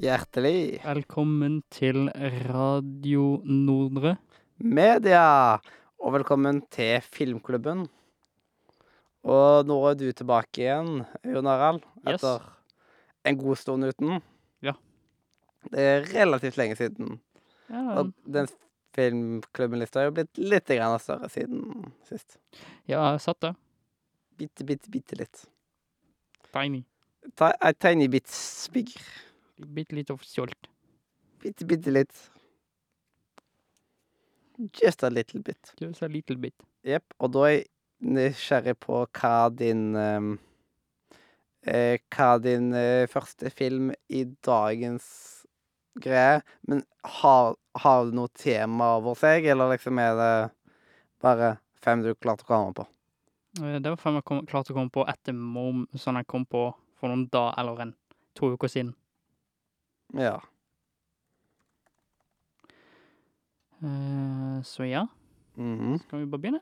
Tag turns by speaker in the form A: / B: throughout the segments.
A: Hjertelig.
B: Velkommen til Radio Nordre.
A: Media, og velkommen til Filmklubben. Og nå er du tilbake igjen, Jon Harald,
B: Yes.
A: etter en god stund uten.
B: Ja.
A: Det er relativt lenge siden.
B: Ja,
A: Og den filmklubben-lista er jo blitt litt grann større siden sist.
B: ja jeg satt det.
A: Bitte, bitte, bitte litt.
B: Tiny.
A: Ta, a tiny bit bigger.
B: Bitte litt offisielt.
A: Bitte, bitte litt. Just a little bit.
B: Just a little bit.
A: Jepp. Og da er jeg nysgjerrig på hva din ehm, eh, Hva din eh, første film i dagens greie Men har, har du noe tema over seg, eller liksom er det bare fem du klarte å komme på?
B: Eh, Det var fem jeg kom, klarte å komme på etter mom, sånn jeg kom på for noen dag eller en to uker siden.
A: Ja.
B: Eh, Så ja,
A: Mhm.
B: skal vi bare begynne?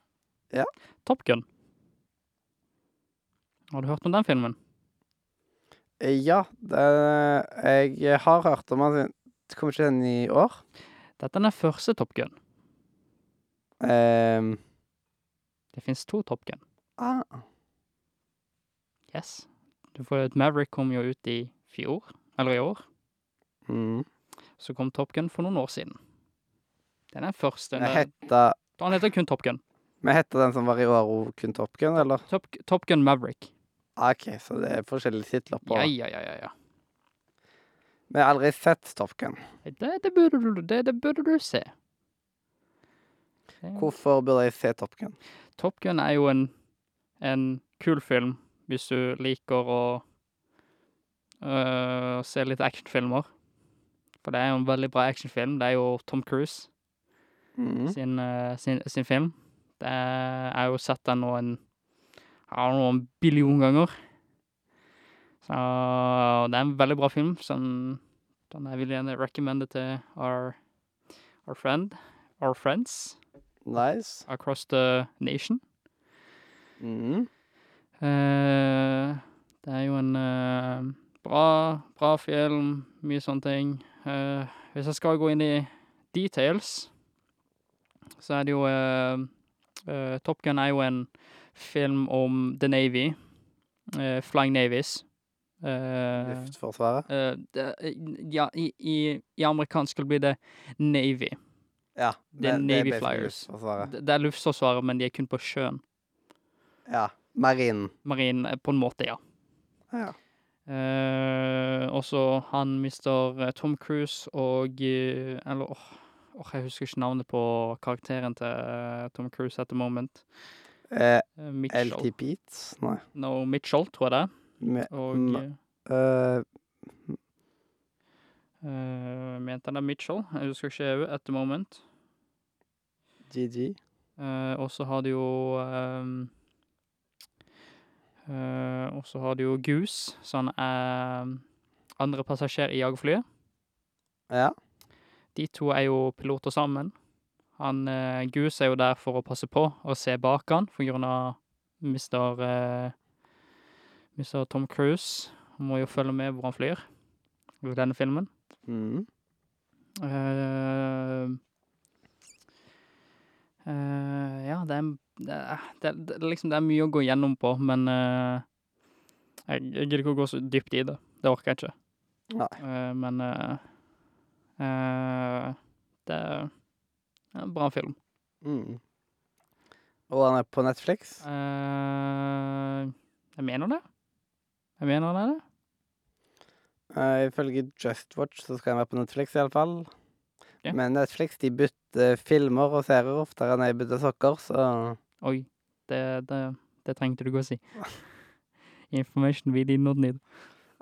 A: Ja.
B: Top Gun. Har du hørt om den filmen?
A: Eh, Ja, det, jeg har hørt om den. Kommer ikke den i år?
B: Dette er den første Top Gun.
A: Ehm,
B: Det finnes to Top Gun.
A: ah,
B: Yes. Du får et Maverick kom jo ut i fjor, eller i år.
A: mm.
B: Så kom Top Gun for noen år siden. Det er den første.
A: Vi
B: det-
A: heter,
B: Han heter kun Top Gun.
A: vi heter den som var i år, og kun Top Gun, eller?
B: Top, Top Gun Maverick.
A: Ah, OK, så det er forskjellige titler på
B: Ja, ja, ja, ja. ja.
A: Vi har aldri sett Top Gun.
B: Det, det, burde, du, det, det burde du se. Det-
A: Hvorfor burde jeg se Top Gun?
B: Top Gun er jo en, en kul film hvis du liker å øh, se litt actionfilmer. For det er jo en veldig bra actionfilm. Det er jo Tom Cruise.
A: Mhm.
B: sin, eh, sin, sin film. Det er, jeg har jo sett den nå en, ja, noen billion ganger. Så det er en veldig bra film, som den jeg vil gjerne recommende til our, our friend, our friends
A: Nice.
B: across the nation.
A: Mhm.
B: Eh, det er jo en eh, bra, bra film, mye sånne ting. Eh, hvis jeg skal gå inn i details, så er det jo eh, eh, Top Gun er jo en film om The Navy, eh, Flying Navies. Eh,
A: Luftforsvaret.
B: eh, det, ja, i, i, I amerikansk skulle det bli det Navy.
A: Ja.
B: det er Navy
A: basically
B: Flyers.
A: Luftforsvaret.
B: Det, det er luftforsvaret, men de er kun på sjøen.
A: Ja. Marinen.
B: Marinen, eh, på en måte, ja.
A: Ja.
B: Eh, også han mister eh, Tom Cruise og eh, Eller åh, åh, jeg husker ikke navnet på karakteren til eh, Tom Cruise at the moment.
A: Eh,
B: Eh, Mitchell.
A: LT Pete? Nei.
B: No, Mitchell, tror jeg det. er.
A: Me-
B: Og
A: Ma-
B: eh,
A: eh,
B: eh, mente han det er Mitchell? Jeg husker ikke at the moment.
A: GG.
B: Eh, og så har de jo ehm, eh, Og så har de jo Goose, så han er eh, andre passasjer i jagerflyet.
A: Ja.
B: De to er jo piloter sammen. Han, eh, Goose er jo der for å passe på og se bak han, for grunn av mister, eh, mister Tom Cruise. Han må jo følge med hvor han flyr i denne filmen.
A: Mhm.
B: Eh, eh, ja, det er, det, er, det, er, det er liksom, det er mye å gå gjennom på, men eh, jeg, jeg gidder ikke å gå så dypt i det. Det orker jeg ikke.
A: Nei.
B: Eh, men eh, eh, det er en bra film.
A: Mhm. Og han er på Netflix?
B: Eh, jeg mener det. Jeg mener det er det.
A: Eh, ifølge Just Watch så skal han være på Netflix, iallfall.
B: Ja.
A: Men Netflix de bytter filmer og serier oftere enn jeg bytter sokker, så
B: Oi, det, det, det trengte du ikke å si. Information we did not need.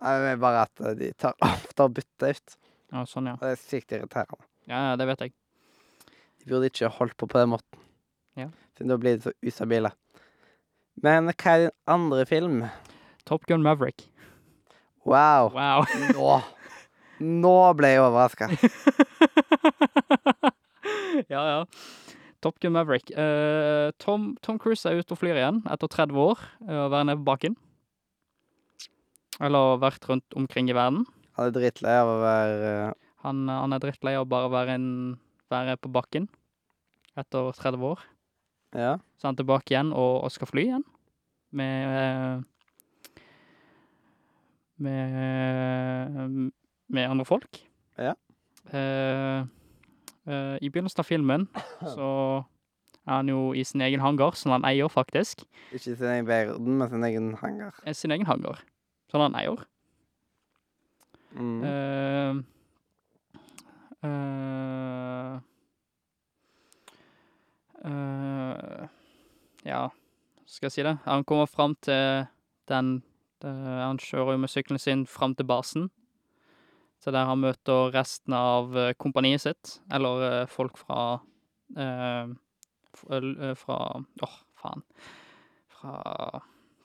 A: Nei, det er bare at de tar oftere bytter ut.
B: Ja, sånn, ja.
A: Og Det er sykt irriterende.
B: Ja, ja, det vet jeg.
A: De burde ikke holdt på på den måten.
B: Ja.
A: Siden da blir de så ustabile. Men hva er din andre film?
B: Top Gun Maverick.
A: Wow.
B: Wow.
A: Nå Nå ble jeg overraska.
B: ja, ja. Top Gun Maverick. Eh, Tom, Tom Cruise er ute og flyr igjen etter 30 år eh, å være nede på bakken. Eller vært rundt omkring i verden.
A: Han er drittlei av å være eh,
B: Han, han er drittlei av bare å være, en, være på bakken etter 30 år.
A: Ja.
B: Så er han tilbake igjen og, og skal fly igjen. Med eh, Med, med andre folk.
A: Ja.
B: Eh, eh, I begynnelsen av filmen så er han jo i sin egen hangar, som han eier, faktisk.
A: Ikke i sin egen verden, men sin egen hangar.
B: Eh, Sin egen hangar, som han eier.
A: Mm.
B: Eh, eh, eh, ja, skal jeg si det? Han kommer fram til den eh, Han kjører jo med sykkelen sin fram til basen. Så der han møter resten av eh, kompaniet sitt, eller eh, folk fra eh, f- l- eh, Fra Åh, faen. Fra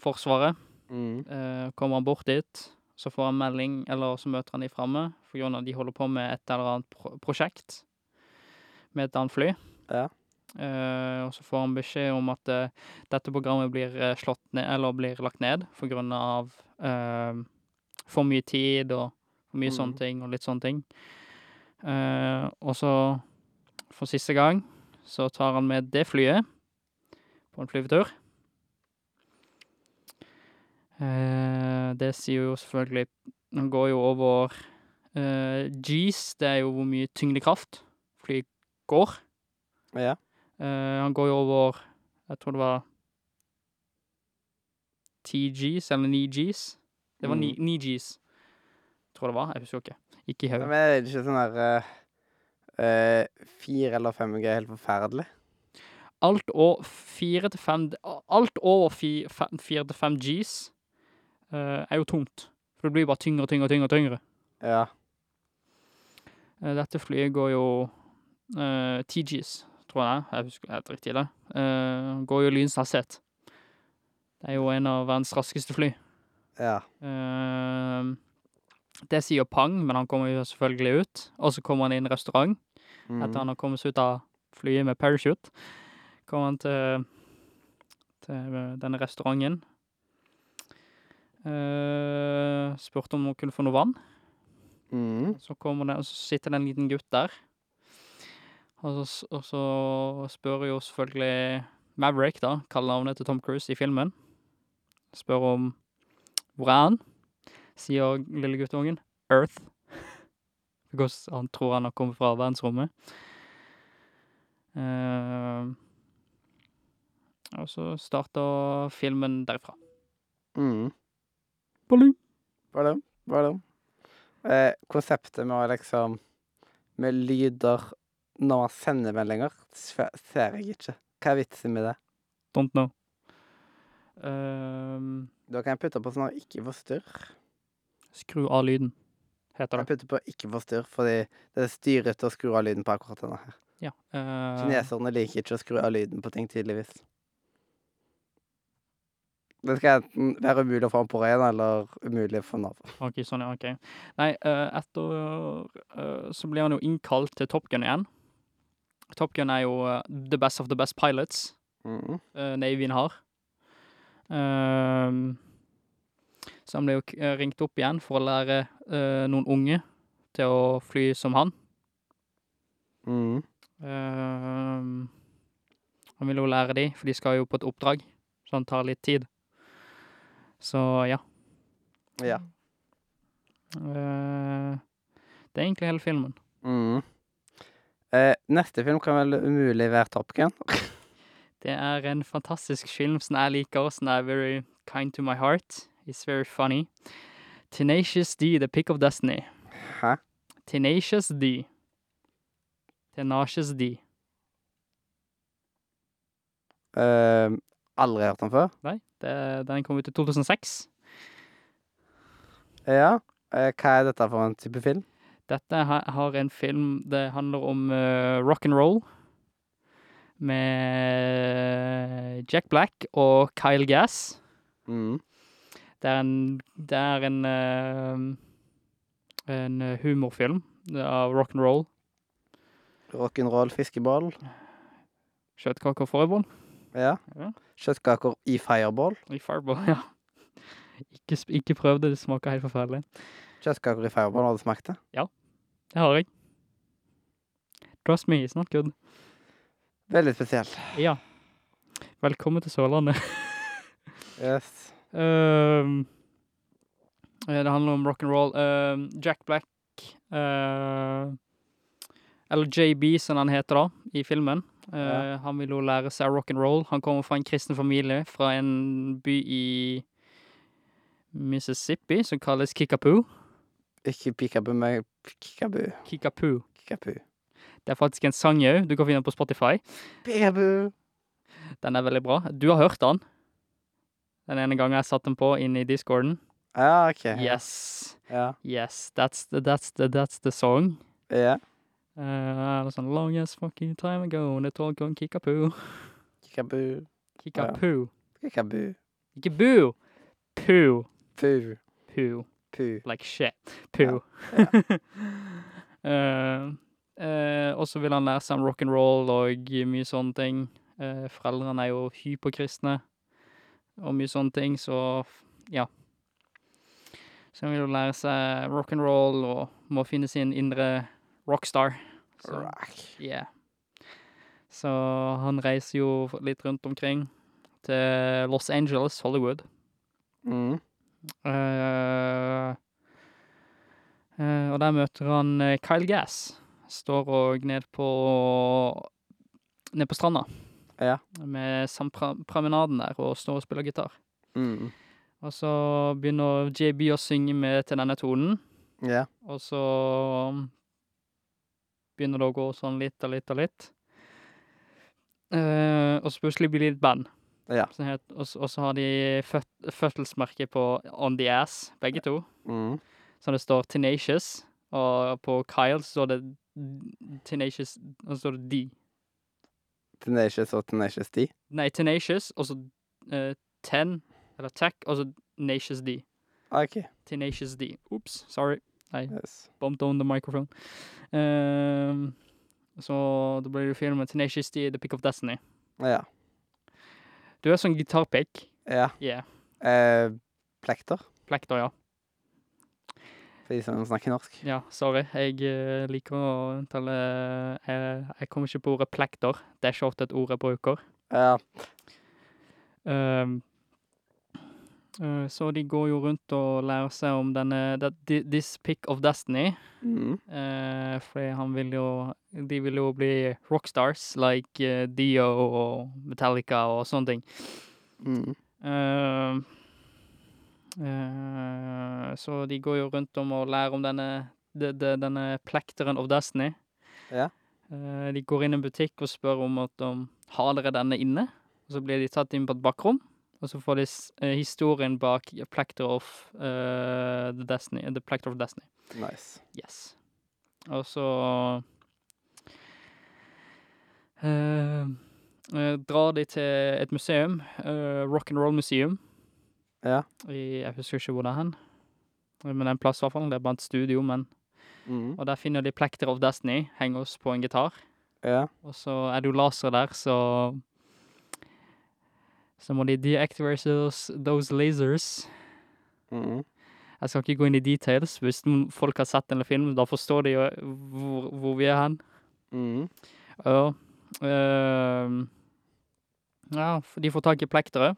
B: Forsvaret.
A: Mm.
B: Eh, kommer han bort dit, så får han melding, eller så møter han de framme. For Jonah, de holder på med et eller annet pro prosjekt med et annet fly.
A: Ja.
B: Eh, og så får han beskjed om at eh, dette programmet blir eh, slått ned, eller blir lagt ned, for grunn av eh, for mye tid og for mye
A: Mhm.
B: sånne ting, og litt sånne ting. Eh, og så, for siste gang, så tar han med det flyet på en flyvetur. Eh, det sier jo selvfølgelig Han går jo over eh, G's, det er jo hvor mye tyngdekraft flyet går.
A: Ja.
B: Eh, han går jo over Jeg tror det var 10 G's eller 9 G's. Det var
A: Mm.
B: 9 G's. Tror det var. Jeg husker ikke. Ikke i
A: Men
B: hodet.
A: er det ikke sånn der eh, eh, Fire eller fem G er helt forferdelig?
B: Alt, å- fire til fem- alt over fi- fem- fire til fem G's eh, er jo tungt. For det blir bare tyngre og tyngre og tyngre. og tyngre.
A: Ja.
B: Eh, Dette flyet går jo uh, TGs, tror jeg. Jeg husker helt riktig det. Eh, går jo lynets hastighet. Det er jo en av verdens raskeste fly.
A: Ja.
B: Eh, det sier pang, men han kommer jo selvfølgelig ut. Og så kommer han i en restaurant
A: Mm.
B: etter han har kommet seg ut av flyet med parachute. Kommer han til, til denne restauranten. Eh, spurte om hun kunne få noe vann.
A: Mm.
B: Så kommer det, og så sitter det en liten gutt der. Og så, s- og så spør jo selvfølgelig Maverick, da, kallenavnet til Tom Cruise i filmen. Spør om hvor er han? Sier lille guttungen. Earth. Because han tror han har kommet fra verdensrommet. Eh, og så starter filmen derfra.
A: Mm.
B: Balling.
A: Var det? Var det? Eh, konseptet med å liksom Med lyder når man sender meldinger, sve- ser jeg ikke. Hva er vitsen med det?
B: Don't know. Eh,
A: Da kan jeg putte på sånn her 'ikke forstyrr'.
B: skru av lyden, heter
A: Jeg
B: det.
A: putter på 'ikke forstyrr', fordi det er styrete å skru av lyden på akkurat denne her.
B: Ja.
A: Ah.
B: eh,
A: Kineserne liker ikke å skru av lyden på ting, tydeligvis. Det skal enten være umulig å få den på ren, eller umulig for Nav.
B: Ok, sånn, ja, ok. Nei, eh, etter eh, så blir han jo innkalt til Top Gun igjen. Top Gun er jo eh, the best of the best pilots
A: Mm.
B: uh, Navyen har. Ehm, så han ble jo k- eh, ringt opp igjen for å lære eh, noen unge til å fly som han.
A: Mm.
B: Ehm, han vil jo lære de, for de skal jo på et oppdrag, så han tar litt tid. Så ja.
A: Ja.
B: Eh, det er egentlig hele filmen.
A: Mm. Eh, neste film kan vel umulig være Top Gun.
B: Det er en fantastisk film som jeg liker, som er very kind to my heart. It's very funny. Tenacious D, The Pick of Destiny.
A: Hæ?
B: Tenacious D. Tenacious D.
A: Eh, aldri hørt den før.
B: Nei, det, den kom ut i 2006.
A: Ja. Eh, hva er dette for en type film?
B: Dette her har en film Det handler om uh, rock and roll med Jack Black og Kyle Gass.
A: Mm.
B: Det er en, det er en, eh, en eh, humorfilm av rock and roll.
A: Rock'n'roll, fiskeball.
B: Kjøttkaker og fireball.
A: Ja.
B: Ja.
A: Kjøttkaker i fireball.
B: I fireball, ja. Ikke, sp- ikke prøv det, det smaker helt forferdelig.
A: Just Cocker i Fireball, har du smakt det?
B: Det har jeg. Trust me, it's not good.
A: Veldig spesielt.
B: Ja. Velkommen til Sørlandet.
A: Yes.
B: Ehm, eh, det handler om rock'n'roll. Um, Jack Black, eh, eller JB som han heter da, i filmen. Eh,
A: Ja.
B: Han vil jo lære seg rock'n'roll. Han kommer fra en kristen familie fra en by i Mississippi som kalles Kickapoo.
A: Ikke Pikabu, men Kikabu.
B: Kickapoo.
A: Kikabu.
B: Det er faktisk en sang òg. Du kan finne den på Spotify.
A: Pikabu!
B: Den er veldig bra. Du har hørt den. Den ene gangen jeg satte den på inn i discorden.
A: Ja, Ah, OK.
B: Yes.
A: Ja.
B: Yes. That's the, that's the, that's the song.
A: ja.
B: Eh, er det sånn Long as fucking time ago, and the talk on kickapoo.
A: Kikabu.
B: Kickapoo.
A: Kikabu.
B: Ikke boo! Poo.
A: Pu.
B: Poo.
A: Pu.
B: Like shit. Poo. Eh, eh, og så vil han lære seg om rock'n'roll og mye sånne ting. Eh, foreldrene er jo hyperkristne og mye sånne ting, så f- ja. Så han vil jo lære seg rock'n'roll og må finne sin indre rockstar. Så-
A: Rock.
B: Yeah. Så han reiser jo litt rundt omkring til Los Angeles, Hollywood.
A: Mm.
B: Eh, eh, og der møter han eh, Kyle Gass. Står og ned på Ned på stranda.
A: Ja.
B: Med sampromenaden der, og står og spiller gitar.
A: Mm.
B: Og så begynner JB å synge med til denne tonen.
A: Ja.
B: Og så um, begynner det å gå sånn litt og litt og litt. Eh, og så plutselig blir det et band.
A: Ja.
B: Som het- og, s- og så har de føt, fødselsmerket på On The Ass, begge to.
A: Mm.
B: Så det står Tenacious, og på Kyle så står det Tenacious, og så står det D.
A: Tenacious og Tenacious D.
B: Nei, Tenacious, og så eh, Ten, eller Tech, og så Nacious D.
A: Ah, OK.
B: Tenacious D. Ops, sorry.
A: Yes.
B: bumped on the microphone. Ehm, så da blir det filmen Tenacious D, The Pick of Destiny.
A: Ja.
B: Du er sånn gitarpick.
A: Ja.
B: Yeah.
A: Eh, plekter,
B: Plekter, ja.
A: for de som snakker norsk.
B: Ja, sorry. Jeg eh, liker å telle Jeg, jeg kommer ikke på ordet plekter. Det er ikke ofte et ord jeg bruker.
A: Ja.
B: Ehm, eh, så de går jo rundt og lærer seg om denne that, thi- This Pick of Destiny.
A: Mm.
B: eh, fordi han vil jo De vil jo bli rockstars like eh, Dio og Metallica og sånne ting.
A: Mm.
B: Eh, eh, så de går jo rundt om og lærer om denne, de, de, denne plekteren of Destiny.
A: Ja.
B: Eh, de går inn i en butikk og spør om at om, har dere denne inne. Og så blir de tatt inn på et bakrom, og så får de s- eh, historien bak Plekter of eh, the Destiny. The Plekter of Destiny.
A: Nice.
B: Yes. Og så eh, eh, drar de til et museum, eh, Rock'n'Roll Museum.
A: Ja.
B: I, jeg husker ikke hvor det er hen. Men det er en plass i hvert fall. Det er bare et studio, men
A: Mm.
B: Og der finner de Plekter of Destiny, henger oss på en gitar.
A: Ja.
B: Og så er det jo laser der, så Så må de deactivate those, those lasers.
A: Mm.
B: Jeg skal ikke gå inn i details. Hvis noen folk har sett denne filmen, da forstår de jo hvor, hvor vi er hen.
A: Mm.
B: Ja. ehm, ja, f- de får tak i plekteret.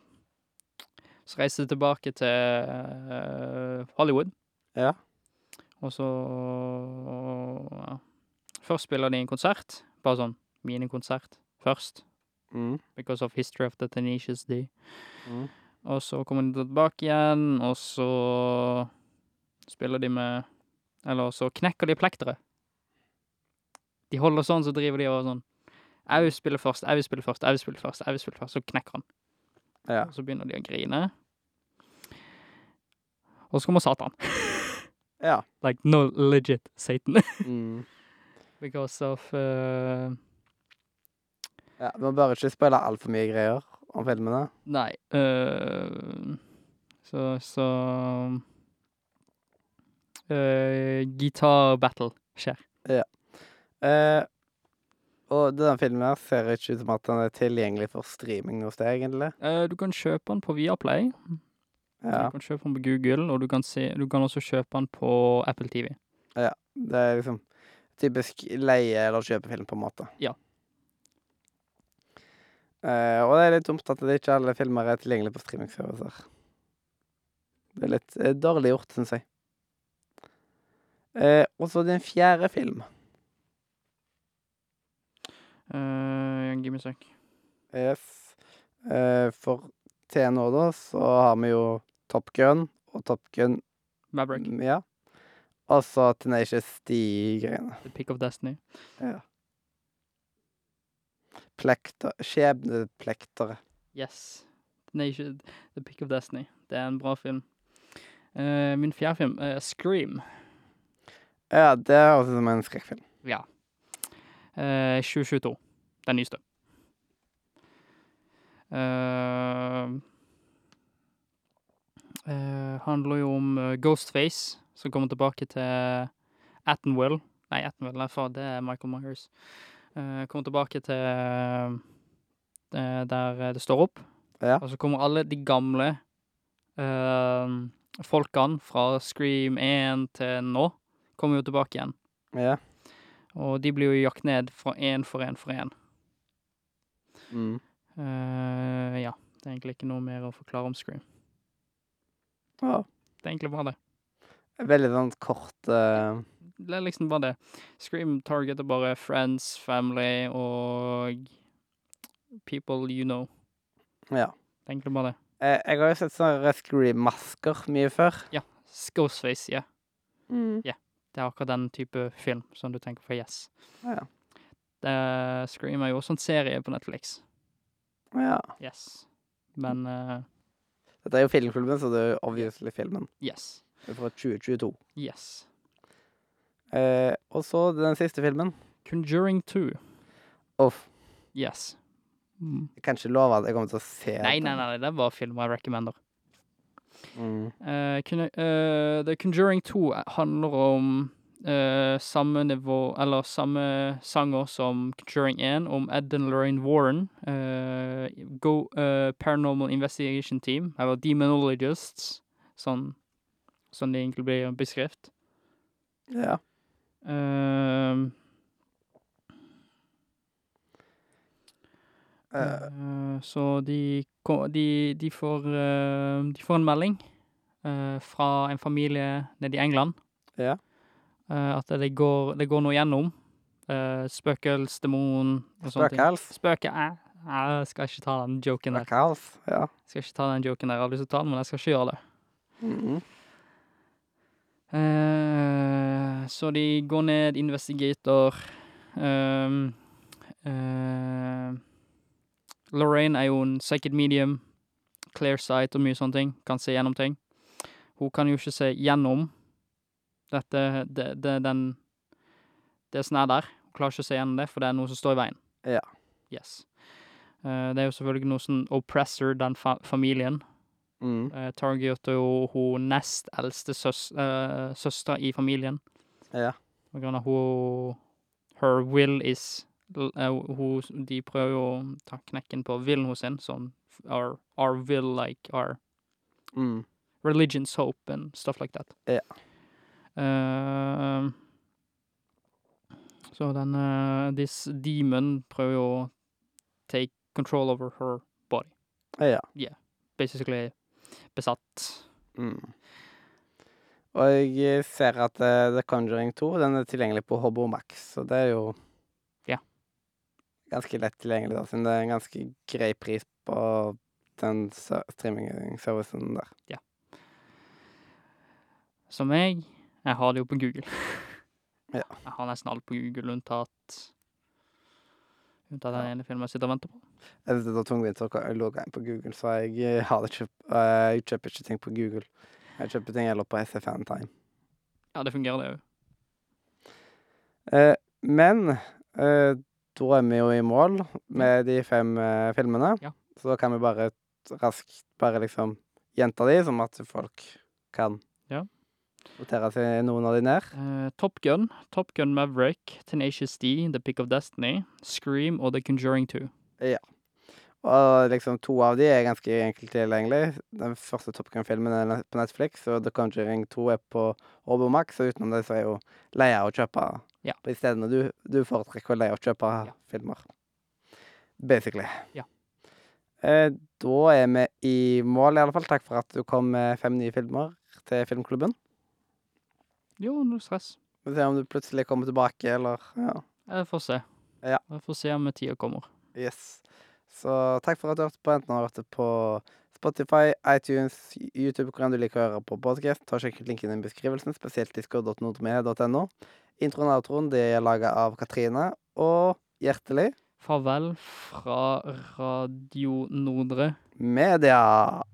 B: Så reiser de tilbake til eh, Hollywood.
A: Ja.
B: Og så ja. Først spiller de en konsert. Bare sånn minikonsert først.
A: Mm.
B: Because of history of the Tenacious D.
A: Mm.
B: Og så kommer de tilbake igjen, og så spiller de med Eller så knekker de plekteret. De holder sånn, så driver de og sånn. Jeg vil spille først, jeg vil spille først, jeg vil spille først. jeg vil spille først, Så knekker han.
A: Ja.
B: Og så begynner de å grine. Og så kommer Satan.
A: Ja.
B: Like no legit Satan.
A: Mm.
B: Because of eh,
A: ja. Vi må bare ikke spoile altfor mye greier om filmene.
B: Nei. øh, så så øh, Guitar battle skjer.
A: Eh, og denne filmen her ser ikke ut som at den er tilgjengelig for streaming hos deg, egentlig.
B: Eh, du kan kjøpe den på Viaplay.
A: Ja.
B: Du kan kjøpe den på Google, og du kan, se, du kan også kjøpe den på Apple TV.
A: Det er liksom typisk leie- eller kjøpefilm, på en måte.
B: Ja.
A: Eh, og det er litt dumt at det ikke alle filmer er tilgjengelige på streamingservicer. Det er litt eh, dårlig gjort, syns jeg. Eh, og så din fjerde film.
B: Uh, give me a sec.
A: Yes. Eh, for til nå, da, så har vi jo Top Gun og Top Gun mm,
B: Maverick.
A: Ja. Og så Tenacious D-greiene.
B: The Pick of Destiny.
A: Plekter. Skjebneplektere.
B: Yes. Nation, The Pick of Destiny. Det er en bra film. Eh, min fjerde film, eh, Scream.
A: Ja, det høres ut som en skrekkfilm.
B: Ja. Eh, 2022. Den nyeste. Eh, eh, handler jo om eh, Ghostface, som kommer tilbake til Attenwell. Nei, Attenwell, nei, faen, det er Michael Myers. Eh, kommer tilbake til eh, der eh, det står opp.
A: Ja.
B: Og så kommer alle de gamle eh, folkene fra Scream 1 til nå, kommer jo tilbake igjen.
A: Ja.
B: Og de blir jo jakt ned fra én for én for én.
A: Mm.
B: Eh, ja. Det er egentlig ikke noe mer å forklare om Scream.
A: ja.
B: Det er egentlig bare det.
A: Veldig sånn kort eh,
B: Det er liksom bare det. Scream targeter bare friends, family og people you know.
A: Ja.
B: Det er egentlig bare det.
A: Eh, Jeg har jo sett sånne Scream-masker mye før.
B: Ghostface, ja.
A: Mm.
B: Det er akkurat den type film som du tenker på yes.
A: Ja.
B: Det er, Scream er jo også en serie på Netflix.
A: Ja.
B: Yes. Men eh,
A: Dette er jo filmklubben, så det er jo obviously filmen.
B: yes.
A: Det er Fra 2022.
B: Yes.
A: Eh, og så den siste filmen.
B: Conjuring 2.
A: Uff.
B: Yes. Mm.
A: Jeg kan ikke love at jeg kommer til å se
B: Nei, nei,
A: den.
B: nei, det var film jeg recommender.
A: Mm.
B: Eh, Conju- eh, The Conjuring 2 handler om eh, samme nivå, eller samme sanger som Conjuring 1, om Ed and Lorraine Warren, eh, Go eh, Paranormal Investigation Team, eller Demonologists, sånn, sånn det egentlig blir beskrevet.
A: Ja.
B: Eh,
A: Eh,
B: Eh, Så de, ko- de, de, får, eh, de får en melding eh, fra en familie nede i England.
A: Ja.
B: Eh, at det går, det går noe gjennom. Uh, spøkels, demon og sånne ting.
A: Spøkels.
B: Spøke... eh, eh, Jeg skal ikke ta den joken der.
A: Spøkels. Ja.
B: Jeg skal ikke ta den joken der. Jeg har lyst til å ta den, men jeg skal ikke gjøre det.
A: Mhm.
B: Eh, så de går ned, investigator ehm, eh, Lorraine er jo en psychic medium, clear sight og mye sånne ting. Kan se gjennom ting. Hun kan jo ikke se gjennom dette, det, det, den, det som er der. Hun klarer ikke å se gjennom det, for det er noe som står i veien.
A: Ja.
B: Yes. Eh, det er jo selvfølgelig noe som oppressor den fa familien.
A: Mm.
B: Eh, Target er jo hun nest eldste søs eh, søster i familien.
A: Ja.
B: På grunn av hun Her will is l- eh, hun, De prøver jo å ta knekken på villen hennes, sin, sånn f- our, our will, like our
A: Mm.
B: religion's hope and stuff like that.
A: Ja.
B: Eh, så den eh, This demon prøver jo å take control over her,
A: Ja.
B: basically besatt.
A: Mm. Og jeg ser at eh, The Conjuring 2 den er tilgjengelig på Hobo Max, så det er jo
B: Ja.
A: ganske lett tilgjengelig, da, siden det er en ganske grei pris på den ser- streaming-servicen der.
B: Som meg, jeg har det jo på Google.
A: Ja.
B: Jeg har nesten alt på Google, unntatt Unntatt den
A: Ja.
B: ene filmen jeg sitter og venter på.
A: Jeg synes det var tungvint å ka- logge inn på Google, så jeg eh, har det ikke eh, Jeg kjøper ikke ting på Google. Jeg kjøper ting heller på SFN Time.
B: Ja, det fungerer, det òg.
A: Eh, men eh, da er vi jo i mål med de fem eh, filmene.
B: Ja.
A: Så da kan vi bare t- raskt bare liksom gjenta de, som at folk kan
B: Ja.
A: notere seg noen av de ned.
B: Eh, Top Gun, Top Gun Maverick, Tenacious D, The Pick of Destiny, Scream og The Conjuring 2.
A: Og liksom to av de er ganske enkelt tilgjengelig. Den første Top Gun-filmen er net- på Netflix, og The Conjuring 2 er på Obermax, og utenom det så er jo leie å kjøpe
B: Ja.
A: på istedene. Du, du foretrekker å leie å kjøpe
B: Ja.
A: filmer. Basically.
B: Ja.
A: Eh, da er vi i mål, i alle fall. Takk for at du kom med fem nye filmer til Filmklubben.
B: Jo, null stress.
A: Vi får se om du plutselig kommer tilbake, eller ja.
B: Jeg får se.
A: Ja.
B: Jeg får se om tida kommer.
A: Yes. Så takk for at du hørte på. Enten har du hørt det på Spotify, iTunes, YouTube, hvor enn du liker å høre på podkast. Ta og Sjekk ut linken i beskrivelsen, spesielt discord.nordmedia.no. Introen og outroen de er laga av Katrine. Og hjertelig
B: Farvel fra Radio Nordre.
A: media!